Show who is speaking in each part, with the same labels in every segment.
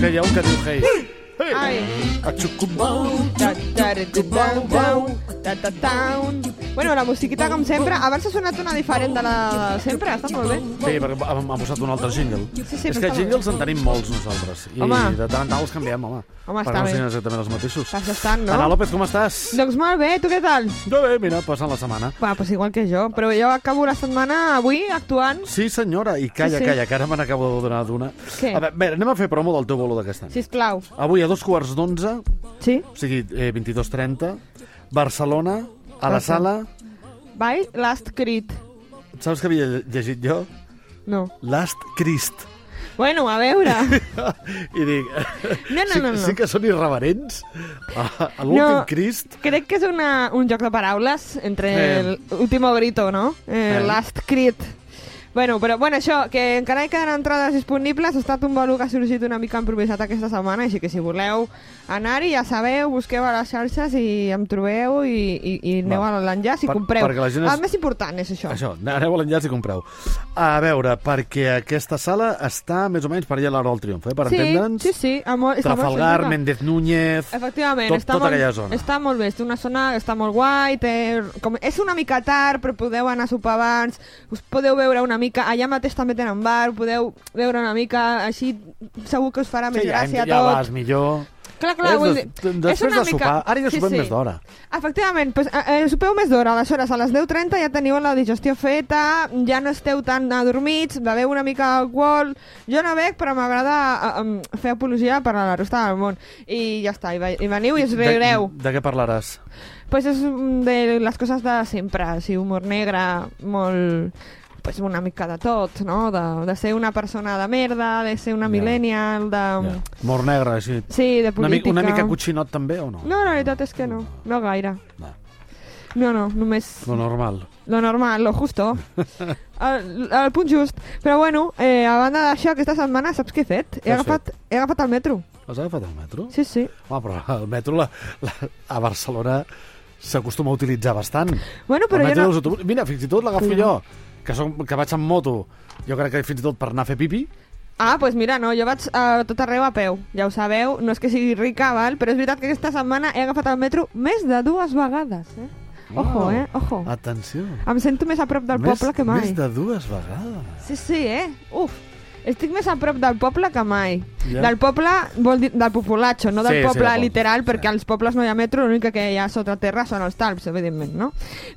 Speaker 1: que hi ha un que diu hey.
Speaker 2: Ai. Bueno, la musiquita, com sempre, a veure si ha sonat una diferent de la de sempre, està molt bé.
Speaker 1: Bé, perquè hem, hem posat un altre jingle.
Speaker 2: ¿eh? Sí, sí,
Speaker 1: és
Speaker 2: però
Speaker 1: que
Speaker 2: està
Speaker 1: jingles en tenim molts nosaltres. I
Speaker 2: Home.
Speaker 1: de tant en tant els canviem, home.
Speaker 2: Home,
Speaker 1: perquè
Speaker 2: està
Speaker 1: no
Speaker 2: bé.
Speaker 1: siguin exactament els mateixos.
Speaker 2: Estàs estant, no?
Speaker 1: Ana López, com estàs?
Speaker 2: Doncs molt bé, tu què tal?
Speaker 1: Jo bé, mira, passant la setmana.
Speaker 2: Va, pues igual que jo, però jo acabo la setmana avui actuant.
Speaker 1: Sí, senyora, i calla,
Speaker 2: Sí, sí.
Speaker 1: calla, que ara me n'acabo de donar d'una.
Speaker 2: Què?
Speaker 1: A veure, mira, anem a fer promo del teu bolo d'aquest any.
Speaker 2: Sisplau.
Speaker 1: Avui a dos quarts d'onze,
Speaker 2: Sí?
Speaker 1: o sigui, eh, 22.30, Barcelona, a la
Speaker 2: Barcelona.
Speaker 1: sala...
Speaker 2: By Last Crit.
Speaker 1: Saps que havia llegit jo?
Speaker 2: No.
Speaker 1: Last Christ.
Speaker 2: Bueno, a veure.
Speaker 1: I dic...
Speaker 2: No, no,
Speaker 1: sí,
Speaker 2: no, no.
Speaker 1: sí que són irreverents. A, a l'últim
Speaker 2: No.
Speaker 1: Crist.
Speaker 2: Crec que és una, un joc de paraules entre
Speaker 1: Eh.
Speaker 2: eh. l'último grito, no? Eh,
Speaker 1: Eh.
Speaker 2: Last crit. Bueno, però bueno, això, que encara hi queden entrades disponibles, ha estat un valor que ha sorgit una mica improvisat aquesta setmana, així que si voleu anar-hi, ja sabeu, busqueu a les xarxes i em trobeu i, i, i aneu
Speaker 1: Va.
Speaker 2: a l'enllaç i
Speaker 1: Per-
Speaker 2: compreu.
Speaker 1: perquè la gent és-
Speaker 2: El més important és això.
Speaker 1: Això, aneu a l'enllaç i compreu. A veure, perquè aquesta sala està més o menys per allà a l'hora del triomf, eh? per
Speaker 2: sí,
Speaker 1: entendre'ns.
Speaker 2: sí, sí, a molt, està molt
Speaker 1: Trafalgar,
Speaker 2: centrada.
Speaker 1: Méndez Núñez...
Speaker 2: Efectivament,
Speaker 1: tot,
Speaker 2: està,
Speaker 1: tota
Speaker 2: molt,
Speaker 1: aquella zona.
Speaker 2: està molt bé, és una zona, està molt guai, té, com, és una mica tard, però podeu anar a sopar abans, us podeu veure una mica, allà mateix també tenen bar, podeu veure una mica, així segur que us farà més
Speaker 1: sí, ja,
Speaker 2: gràcia
Speaker 1: ja
Speaker 2: tot.
Speaker 1: vas millor.
Speaker 2: Clar, clar,
Speaker 1: És
Speaker 2: vull
Speaker 1: des-
Speaker 2: dir,
Speaker 1: de- després de sopar, ara ja sopem més d'hora.
Speaker 2: Efectivament, doncs, eh, eh, sopeu més d'hora, aleshores a les 10.30 ja teniu la digestió feta, ja no esteu tan adormits, beveu una mica alcohol, jo no bec però m'agrada eh, em, fer apologia per a la resta del món, i ja està, i, ve- i veniu i us riureu.
Speaker 1: De, de què parlaràs?
Speaker 2: Pues és mm, de les coses de sempre, així, humor negre, molt... Pues una mica de tot, no? De, de ser una persona de merda, de ser una
Speaker 1: Ja.
Speaker 2: millennial, de...
Speaker 1: Ja. Mor negre, així.
Speaker 2: Sí, de
Speaker 1: Una, mica,
Speaker 2: política...
Speaker 1: una mica cotxinot també o no?
Speaker 2: No, la veritat és que no, no gaire.
Speaker 1: No.
Speaker 2: No, no, només
Speaker 1: Lo normal.
Speaker 2: lo normal, lo justo. El, el punt just. Però bueno, eh, a banda d'això, aquesta setmana saps què he fet?
Speaker 1: Què
Speaker 2: He
Speaker 1: has
Speaker 2: agafat, he agafat el metro.
Speaker 1: Has agafat el metro?
Speaker 2: Sí, sí.
Speaker 1: Home, però el metro la, la, a Barcelona s'acostuma a utilitzar bastant.
Speaker 2: Bueno,
Speaker 1: el
Speaker 2: però jo
Speaker 1: metro
Speaker 2: no...
Speaker 1: dels autobusos... Mira, fins i tot l'agafo
Speaker 2: Sí.
Speaker 1: jo, que, som, que vaig amb moto. Jo crec que fins i tot per anar a fer pipi.
Speaker 2: Ah, doncs pues mira, no, jo vaig a tot arreu a peu, ja ho sabeu, no és que sigui rica, val? però és veritat que aquesta setmana he agafat el metro més de dues vegades, eh? Ojo,
Speaker 1: Uau.
Speaker 2: eh? Ojo.
Speaker 1: Atenció.
Speaker 2: Em sento més a prop del
Speaker 1: més,
Speaker 2: poble que mai.
Speaker 1: Més de dues vegades.
Speaker 2: Sí, sí, eh? Uf, estic més a prop del poble que mai.
Speaker 1: Ja.
Speaker 2: Del poble, vol dir, del populatxo, no del
Speaker 1: Sí, sí,
Speaker 2: poble
Speaker 1: del poble,
Speaker 2: literal,
Speaker 1: sí.
Speaker 2: perquè als pobles no hi ha metro, l'únic que hi ha sota terra són els talps, evidentment, no?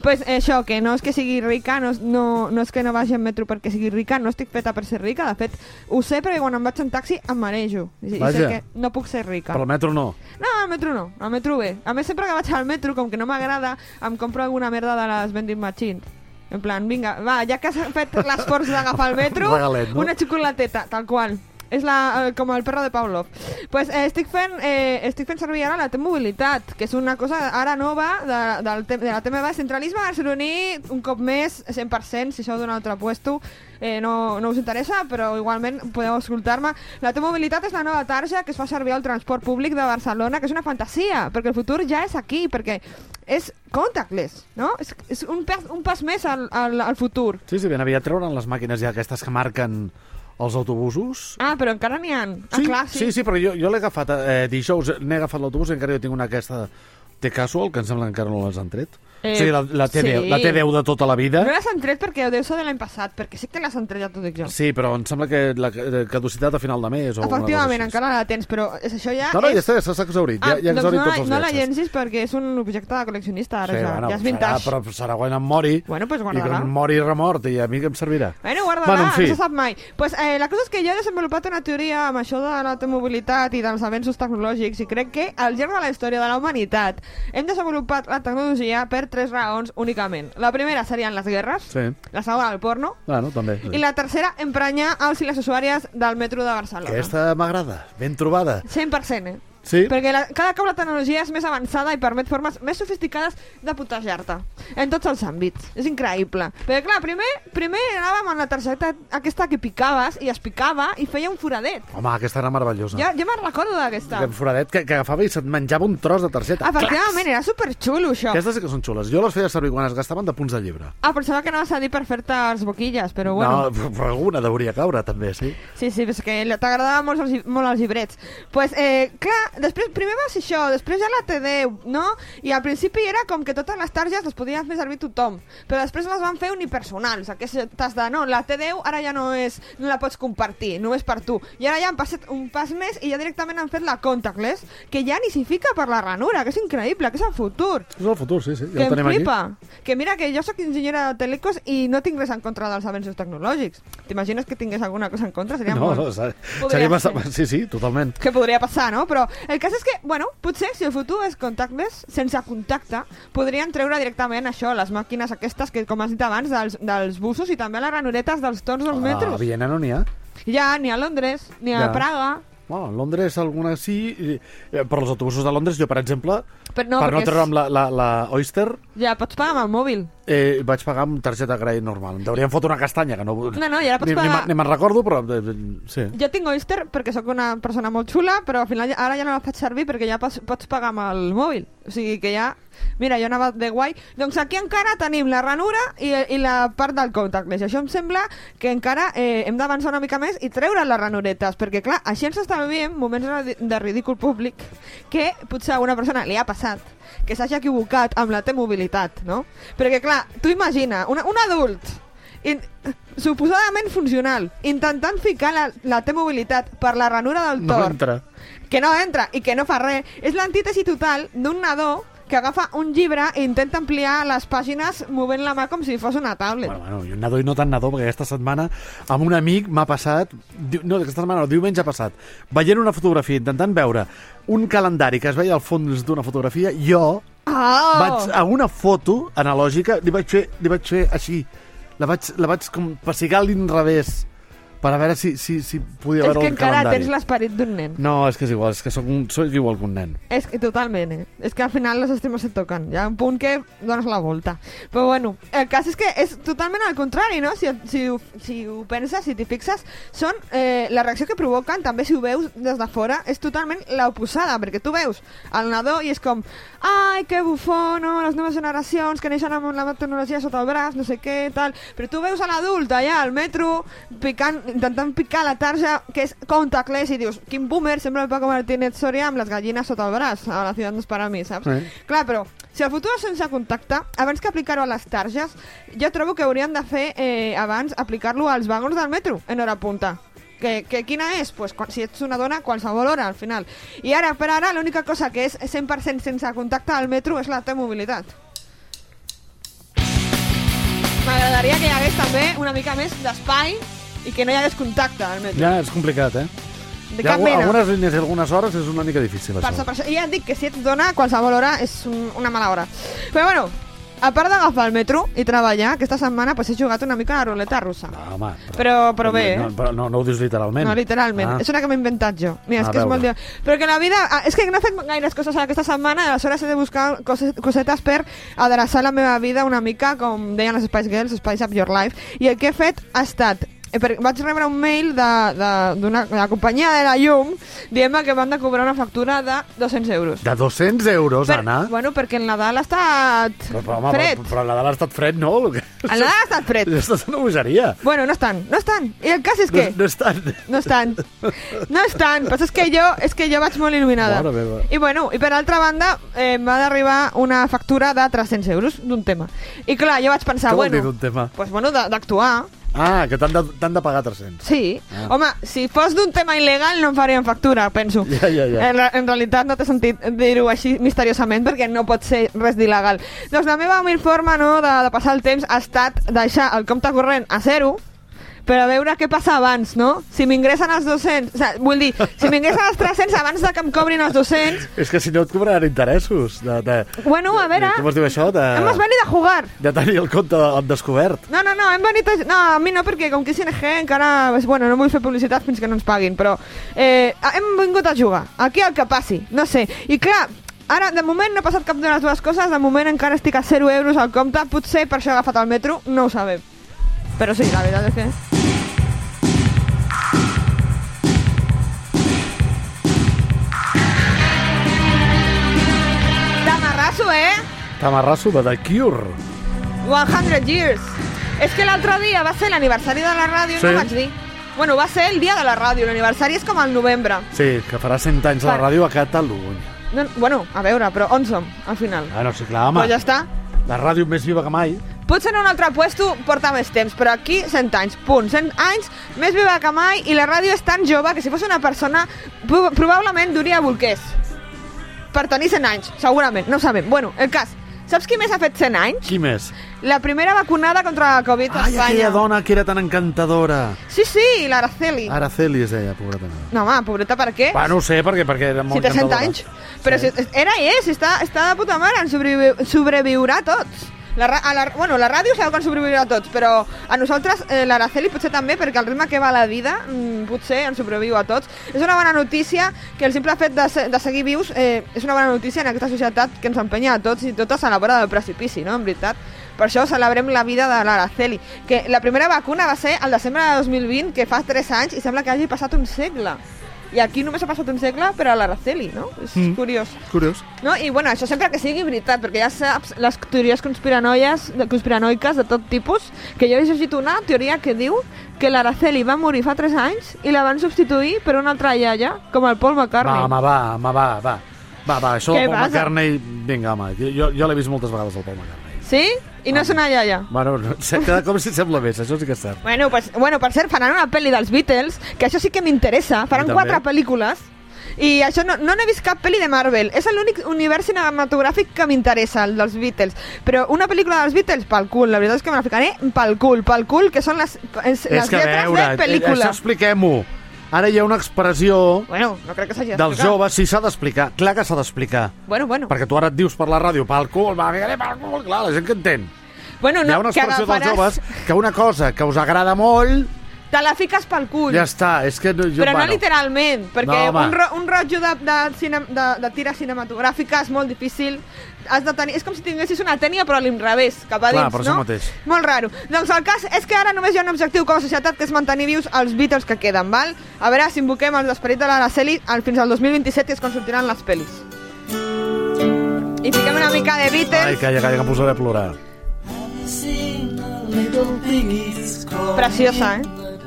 Speaker 2: pues això, que no és que sigui rica, no, és- no, no és que no vagi en metro perquè sigui rica, no estic feta per ser rica, de fet, ho sé perquè quan em vaig en taxi em marejo. I, i sé
Speaker 1: Vaja.
Speaker 2: que no puc ser rica.
Speaker 1: Però el metro no.
Speaker 2: No, al metro no, al metro bé. A més, sempre que vaig al metro, com que no m'agrada, em compro alguna merda de les vending machines. En plan, vinga, va, ja que has fet l'esforç d'agafar el metro,
Speaker 1: Un regalet, no?
Speaker 2: una xocolateta, tal qual. És la, eh, com el perro de Pavlov. Pues, eh, estic, fent, eh, estic fent servir ara la T-Mobilitat, que és una cosa ara nova de, del, te- de la T-MB Centralisme Barceloní, un cop més, 100%, si sou d'un altre puesto, eh, no, no us interessa, però igualment podeu escoltar-me. La T-Mobilitat és la nova tarja que es fa servir al transport públic de Barcelona, que és una fantasia, perquè el futur ja és aquí, perquè és contactless, no? És, és un, pas, un pas més al, al, al futur.
Speaker 1: Sí, sí, ben aviat treuran les màquines ja aquestes que marquen els autobusos.
Speaker 2: Ah, però encara n'hi ha. Ah, clar, sí.
Speaker 1: sí, sí, però jo, jo l'he agafat eh, dijous, n'he agafat l'autobús i encara jo tinc una aquesta de casual, que em sembla que encara no les han tret.
Speaker 2: Eh,
Speaker 1: o sigui, la, la, T10,
Speaker 2: sí.
Speaker 1: la T10 de tota la vida.
Speaker 2: No les han tret perquè deu ser de l'any passat, perquè sí que les han tret, ja t'ho dic jo.
Speaker 1: Sí, però em sembla que la ca- caducitat a final de mes o alguna cosa
Speaker 2: Efectivament,
Speaker 1: així.
Speaker 2: encara la tens, però és això ja...
Speaker 1: No, no, ja
Speaker 2: Ah, és...
Speaker 1: està, ja s'ha exaurit. Ja,
Speaker 2: ah,
Speaker 1: ja
Speaker 2: doncs
Speaker 1: exaurit
Speaker 2: no,
Speaker 1: tots els
Speaker 2: no la
Speaker 1: viatges.
Speaker 2: llencis perquè és un objecte de col·leccionista, ara ja, ja és
Speaker 1: serà,
Speaker 2: vintage.
Speaker 1: però serà quan em mori.
Speaker 2: Bueno, pues
Speaker 1: I
Speaker 2: guarda-la. Eh.
Speaker 1: quan em mori remort, i a mi que em servirà.
Speaker 2: Bueno, guarda-la,
Speaker 1: Bueno, en fi.
Speaker 2: no se sap mai. Pues, eh, la cosa és que jo he desenvolupat una teoria amb això de la mobilitat i dels avenços tecnològics i crec que al llarg de la història de la humanitat hem desenvolupat la tecnologia per tres raons únicament. La primera serien les guerres,
Speaker 1: Sí.
Speaker 2: la segona el porno
Speaker 1: Bueno, també. Sí.
Speaker 2: i la tercera emprenyar els i les usuàries del metro de Barcelona.
Speaker 1: Aquesta m'agrada, ben trobada.
Speaker 2: 100%, eh?
Speaker 1: Sí.
Speaker 2: Perquè la, cada cop la tecnologia és més avançada i permet formes més sofisticades de putejar-te en tots els àmbits. És increïble. Perquè, clar, primer, primer anàvem amb la targeta aquesta que picaves i es picava i feia un foradet.
Speaker 1: Home, aquesta era meravellosa.
Speaker 2: Jo, jo me'n recordo d'aquesta.
Speaker 1: Aquest foradet que, que agafava i se't menjava un tros de targeta.
Speaker 2: Ah, Efectivament, era superxulo, això.
Speaker 1: Aquestes sí que són xules. Jo les feia servir quan es gastaven de punts de llibre.
Speaker 2: Ah, pensava que anaves a dir per fer-te els boquilles, però bueno.
Speaker 1: No, però alguna deuria caure, també, sí.
Speaker 2: Sí, sí, és que li- t'agradava molt, els lli- molt els llibrets. pues, eh, clar, després, primer va ser això, després ja la T10, no? I al principi era com que totes les targes les podien fer servir tothom, però després les van fer unipersonals, aquestes de, no, la T10 ara ja no és, no la pots compartir, només per tu. I ara ja han passat un pas més i ja directament han fet la contactless, que ja ni s'hi fica per la ranura, que és increïble, que és el futur.
Speaker 1: És el futur, sí, sí.
Speaker 2: que
Speaker 1: Ja ho
Speaker 2: em
Speaker 1: tenim
Speaker 2: flipa. Aquí. Que mira, que jo sóc enginyera de telecos i no tinc res en contra dels avenços tecnològics. T'imagines que tingués alguna cosa en contra? Seria
Speaker 1: aquí. No,
Speaker 2: molt...
Speaker 1: no, ser-
Speaker 2: Podria
Speaker 1: seria
Speaker 2: ser.
Speaker 1: bastant... Sí, sí, totalment.
Speaker 2: que podria passar, no? Però el cas és que, bueno, potser si el futur és contactless, sense contacte, podrien treure directament això, les màquines aquestes que, com has dit abans, dels, dels busos i també les ranuretes dels torns dels
Speaker 1: A
Speaker 2: metros.
Speaker 1: Viena no n'hi ha.
Speaker 2: Ja, ni a Londres, ni a
Speaker 1: Ah, Ja.
Speaker 2: Praga...
Speaker 1: Bueno, a Londres alguna sí, i- eh, per als autobusos de Londres, jo, per exemple,
Speaker 2: Però no,
Speaker 1: per no
Speaker 2: perquè
Speaker 1: treure'm la, la, la Oyster,
Speaker 2: és... ja pots pagar amb el mòbil.
Speaker 1: eh, vaig pagar amb targeta Grey normal. Em deurien fotre una castanya, que no...
Speaker 2: No, no, i ara pots
Speaker 1: ni, ni
Speaker 2: pagar-
Speaker 1: me'n- ni me'n recordo, però... eh, eh, Sí.
Speaker 2: Jo tinc Oyster perquè sóc una persona molt xula, però al final ja- ara ja no la faig servir perquè ja pots, pots pagar amb el mòbil. O sigui que ja... Mira, jo anava de guai. Doncs aquí encara tenim la ranura i, i la part del contactless. I això em sembla que encara eh, hem d'avançar una mica més i treure les ranuretes, perquè clar, així ens estalviem moments radi- de ridícul públic que potser a una persona li ha passat que s'hagi equivocat amb la T-mobilitat, no? Perquè clar, tu imagina, una, un adult in, suposadament funcional, intentant ficar la, la T-mobilitat per la ranura del
Speaker 1: No
Speaker 2: tor,
Speaker 1: entra.
Speaker 2: que no entra i que no fa res, és l'antítesi total d'un nadó que agafa un llibre i intenta ampliar les pàgines movent la mà com si fos una tablet.
Speaker 1: Bueno, bueno, i un nadó i no tan nadó, perquè aquesta setmana amb un amic m'ha passat, di- no, aquesta setmana no, diumenge ha passat, veient una fotografia, intentant veure un calendari que es veia al fons d'una fotografia, jo
Speaker 2: oh!
Speaker 1: vaig a una foto analògica, li vaig fer, li vaig fer així, la vaig, la vaig com pessigar a l'inrevés per a veure si, si, si
Speaker 2: és
Speaker 1: podia veure
Speaker 2: que
Speaker 1: el
Speaker 2: encara
Speaker 1: calendari.
Speaker 2: tens l'esperit d'un nen.
Speaker 1: No, és que és igual, és que sóc, un, sóc igual que un nen.
Speaker 2: És que totalment, eh? És que al final les estimes et toquen. Hi ha un punt que dones la volta. Però bueno, el cas és que és totalment al contrari, no? Si, si, ho- si ho penses, si t'hi fixes, són eh, la reacció que provoquen, també si ho veus des de fora, és totalment l'oposada, perquè tu veus el nadó i és com ai, que bufó, no? Les noves generacions que neixen amb la tecnologia sota el braç, no sé què, tal. Però tu veus a l'adult allà al metro picant, intentant picar la tarja que és contactless i dius, quin boomer, sembla el Paco Martínez Soria amb les gallines sota el braç, a la ciutat no és per a mi, saps?
Speaker 1: Sí.
Speaker 2: Clar, però si el futur és sense contacte, abans que aplicar-ho a les targes, jo trobo que haurien de fer eh, abans aplicar-lo als vagons del metro en hora punta. Que, que quina és? Pues, quan, si ets una dona, qualsevol hora, al final. I ara, per ara, l'única cosa que és 100% sense contacte al metro és la T-mobilitat. M'agradaria que hi hagués també una mica més d'espai i que no hi hagués contacte al metro.
Speaker 1: Ja, és complicat, eh?
Speaker 2: De
Speaker 1: Hi ha
Speaker 2: cap
Speaker 1: algu-
Speaker 2: mena.
Speaker 1: algunes línies i algunes hores és una mica difícil,
Speaker 2: Per això,
Speaker 1: això.
Speaker 2: per això. I ja et dic que si ets dona, qualsevol hora és un, una mala hora. Però bueno, a part d'agafar el metro i treballar, aquesta setmana pues, he jugat una mica a la ruleta russa.
Speaker 1: No, home,
Speaker 2: Però- però bé, eh?
Speaker 1: No, però no, no ho dius literalment.
Speaker 2: No, literalment.
Speaker 1: Ah.
Speaker 2: És una que m'he inventat jo. Mira,
Speaker 1: A
Speaker 2: és que és
Speaker 1: veure.
Speaker 2: molt... dia- Però que la vida... ah, És que no he fet gaires coses aquesta setmana, aleshores he de buscar coses, cosetes per adreçar la meva vida una mica, com deien les Spice Girls, Spice Up Your Life. I el que he fet ha estat eh, per- vaig rebre un mail de- de- d'una de, la companyia de la llum dient-me que m'han de cobrar una factura de 200 euros.
Speaker 1: De 200 euros,
Speaker 2: Per-
Speaker 1: Anna?
Speaker 2: Bueno, perquè el Nadal ha estat
Speaker 1: Però, però, home,
Speaker 2: fred.
Speaker 1: però, però la Nadal ha estat fred, no? El que...
Speaker 2: El Nadal ha estat fred.
Speaker 1: Això és una bogeria.
Speaker 2: Bueno, no estan, no estan. I el cas és
Speaker 1: No,
Speaker 2: que...
Speaker 1: no és tant.
Speaker 2: No estan. No estan. Però és que jo, és que jo vaig molt il·luminada.
Speaker 1: Mare meva.
Speaker 2: I bueno, i per altra banda, eh, em va d'arribar una factura de 300 euros d'un tema. I clar, jo vaig pensar,
Speaker 1: Què vol dir
Speaker 2: bueno...
Speaker 1: d'un tema?
Speaker 2: Pues bueno, de- d'actuar.
Speaker 1: Ah, que t'han de, t'han de pagar 300.
Speaker 2: Sí.
Speaker 1: Ah.
Speaker 2: Home, si fos d'un tema il·legal no em farien factura, penso.
Speaker 1: Ja, ja, ja.
Speaker 2: En, re- en realitat no t'he sentit dir-ho així misteriosament perquè no pot ser res d'il·legal. Doncs la meva humil forma no, de, de passar el temps ha estat deixar el compte corrent a zero però a veure què passa abans, no? Si m'ingressen els 200, o sigui, vull dir, si m'ingressen els 300 abans de que em cobrin els 200,
Speaker 1: És que si no et cobraran interessos. De, de,
Speaker 2: bueno, a veure,
Speaker 1: Com es diu això? De,
Speaker 2: hemos venido a jugar.
Speaker 1: de tenir el compte en descobert.
Speaker 2: No, no, no, hem venit a... No, a mi no, perquè com que és ING encara... doncs, Bueno, no vull fer publicitat fins que no ens paguin, però eh, hem vingut a jugar. Aquí el que passi, no sé. I clar, ara, de moment no ha passat cap de les dues coses, de moment encara estic a 0 euros al compte, potser per això he agafat el metro, no ho sabem. Però sí, la veritat és que... T'amarrasso, eh?
Speaker 1: Tamarrasso de The Cure.
Speaker 2: 100 years. És que l'altre dia va ser l'aniversari de la ràdio,
Speaker 1: Sí.
Speaker 2: sí. no vaig dir. Bueno, va ser el dia de la ràdio, l'aniversari és com al novembre.
Speaker 1: Sí, que farà 100 anys a la
Speaker 2: Clar.
Speaker 1: ràdio a Catalunya.
Speaker 2: No, bueno, a veure, però on som, al final?
Speaker 1: Ah, no, sí, clar, home.
Speaker 2: Però ja està.
Speaker 1: La ràdio més viva que mai.
Speaker 2: Potser en un altre puesto porta més temps, però aquí 100 anys, punt. 100 anys, més viva que mai, i la ràdio és tan jove que si fos una persona pro- probablement duria bolquers. Per tenir 100 anys, segurament, no ho sabem. Bueno, el cas, saps qui més ha fet 100 anys?
Speaker 1: Qui més?
Speaker 2: La primera vacunada contra la Covid a
Speaker 1: Ai,
Speaker 2: Espanya.
Speaker 1: aquella dona que era tan encantadora.
Speaker 2: Sí, sí, l'Araceli.
Speaker 1: Araceli es deia, pobreta meva.
Speaker 2: No, home, pobreta, per què?
Speaker 1: Va, no ho sé, perquè, perquè era molt
Speaker 2: si té 100
Speaker 1: encantadora.
Speaker 2: anys. Però si, era i és, està, està de puta mare, ens sobrevi sobreviurà a tots. La, ra- a la, bueno, la ràdio sabeu que ens sobreviurà a tots, però a nosaltres, eh, l'Araceli potser també, perquè el ritme que va la vida mm, potser ens sobreviu a tots. És una bona notícia que el simple fet de, se de seguir vius eh, és una bona notícia en aquesta societat que ens empenya a tots i totes a la vora del precipici, no?, en veritat. Per això celebrem la vida de l'Araceli, que la primera vacuna va ser al desembre de 2020, que fa 3 anys, i sembla que hagi passat un segle. I aquí només ha passat un segle per a l'Araceli, no? És
Speaker 1: Mm.
Speaker 2: mm. curiós.
Speaker 1: Curiós.
Speaker 2: No? I bueno, això sempre que sigui veritat, perquè ja saps les teories conspiranoies, de- conspiranoiques de tot tipus, que jo he llegit una teoria que diu que l'Araceli va morir fa 3 anys i la van substituir per una altra iaia, com el Paul
Speaker 1: Va,
Speaker 2: McCartney.
Speaker 1: home, va, home, va, va. Va, va, això
Speaker 2: Què
Speaker 1: del Paul
Speaker 2: passa?
Speaker 1: McCartney... Vinga, home, jo, jo- jo l'he vist moltes vegades, el Paul McCartney.
Speaker 2: Sí? I no és una iaia.
Speaker 1: Bueno, no, sé, cada cop s'hi sembla més, això sí que és cert.
Speaker 2: Bueno, pues, bueno, per cert, faran una pel·li dels Beatles, que això sí que m'interessa. Faran
Speaker 1: també.
Speaker 2: quatre pel·lícules. I això no, no n'he vist cap pel·li de Marvel. És l'únic univers cinematogràfic que m'interessa, el dels Beatles. Però una pel·lícula dels Beatles, pel cul. La veritat és que me la ficaré pel cul, pel cul, que són les, les, les
Speaker 1: és que, a
Speaker 2: lletres
Speaker 1: veure,
Speaker 2: de pel·lícula.
Speaker 1: això expliquem-ho. Ara hi ha una expressió
Speaker 2: Bueno, no crec que s'hagi
Speaker 1: dels
Speaker 2: d'explicar.
Speaker 1: joves, sí, s'ha d'explicar. Clar que s'ha d'explicar.
Speaker 2: Bueno, bueno.
Speaker 1: Perquè tu ara et dius per la ràdio, pel cul, va, ficaré pel cul, clar, la gent que entén.
Speaker 2: bueno
Speaker 1: No,
Speaker 2: no,
Speaker 1: hi ha una
Speaker 2: que
Speaker 1: expressió dels
Speaker 2: agafaràs-
Speaker 1: joves que una cosa que us agrada molt,
Speaker 2: Te la fiques pel cul.
Speaker 1: ja està, és que no, jo,
Speaker 2: Però no
Speaker 1: bueno,
Speaker 2: literalment, perquè
Speaker 1: No, home.
Speaker 2: un, ro un rotllo de, de, cine de, de tira cinematogràfica és molt difícil. Has de tenir, és com si tinguessis una tènia però a l'inrevés, cap a
Speaker 1: Clar,
Speaker 2: dins,
Speaker 1: per això
Speaker 2: no?
Speaker 1: mateix.
Speaker 2: Molt raro. Doncs el cas és que ara només hi ha un objectiu com a societat que és mantenir vius els Beatles que queden, val? A veure si invoquem el esperit de l'Araceli al- fins al 2027, que és quan sortiran les pel·lis. I fiquem una mica de Beatles.
Speaker 1: Ai, calla, calla, que em posaré a plorar.
Speaker 2: Preciosa, eh?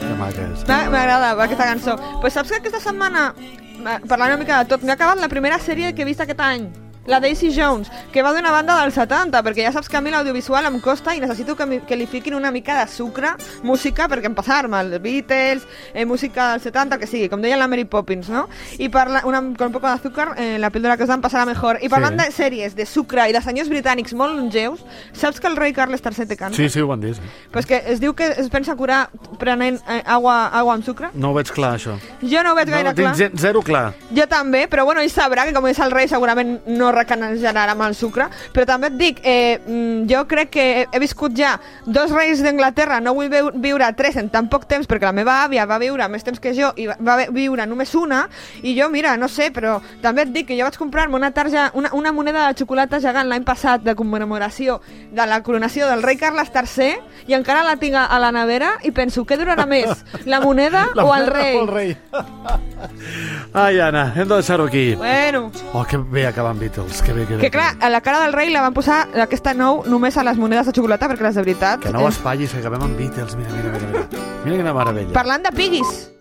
Speaker 1: Que maca és.
Speaker 2: M'ha- M'agrada va, aquesta cançó. Pues saps que aquesta setmana, eh, parlant una mica de tot, m'he acabat la primera sèrie que he vist aquest any. La Daisy Jones, que va d'una banda del 70, perquè ja saps que a mi l'audiovisual em costa i necessito que, mi- que li fiquin una mica de sucre, música, perquè em passar-me, els Beatles, eh, música del 70, el que sigui, com deia la Mary Poppins, no? I parla, una, con un poco de azúcar, eh, la píldora que us dan passarà mejor. I parlant
Speaker 1: Sí.
Speaker 2: de sèries, de sucre i de senyors britànics molt longeus, saps que el rei Carles III té càncer?
Speaker 1: Sí, sí, ho han dit. sí.
Speaker 2: Però és que es diu que es pensa curar prenent eh, agua, agua amb sucre?
Speaker 1: No ho veig clar, això.
Speaker 2: Jo no ho veig
Speaker 1: No,
Speaker 2: gaire
Speaker 1: no
Speaker 2: clar.
Speaker 1: tinc gen- zero clar.
Speaker 2: Jo també, però bueno, ell sabrà que com és el rei segurament no recanejarà amb el sucre. Però també et dic, eh, mm, jo crec que he viscut ja dos reis d'Anglaterra, no vull veu- viure tres en tan poc temps, perquè la meva àvia va viure més temps que jo i va- va ve- viure només una, i jo, mira, no sé, però també et dic que jo vaig comprar-me una tarja, una, una moneda de xocolata gegant l'any passat de commemoració de la coronació del rei Carles III i encara la tinc a a la nevera i penso, què durarà més, la moneda
Speaker 1: La
Speaker 2: o el
Speaker 1: mare
Speaker 2: rei?
Speaker 1: O el rei. Ai, Anna, hem de deixar-ho aquí.
Speaker 2: Bueno...
Speaker 1: Oh, que bé acabar amb Beatles, que bé queda.
Speaker 2: Que clar, a la cara del rei la van posar aquesta nou només a les monedes de xocolata, perquè les de veritat...
Speaker 1: Que no ho
Speaker 2: eh,
Speaker 1: espatllis, que acabem amb Beatles. Mira, mira, mira. Mira, mira quina meravella.
Speaker 2: Parlant de piguis,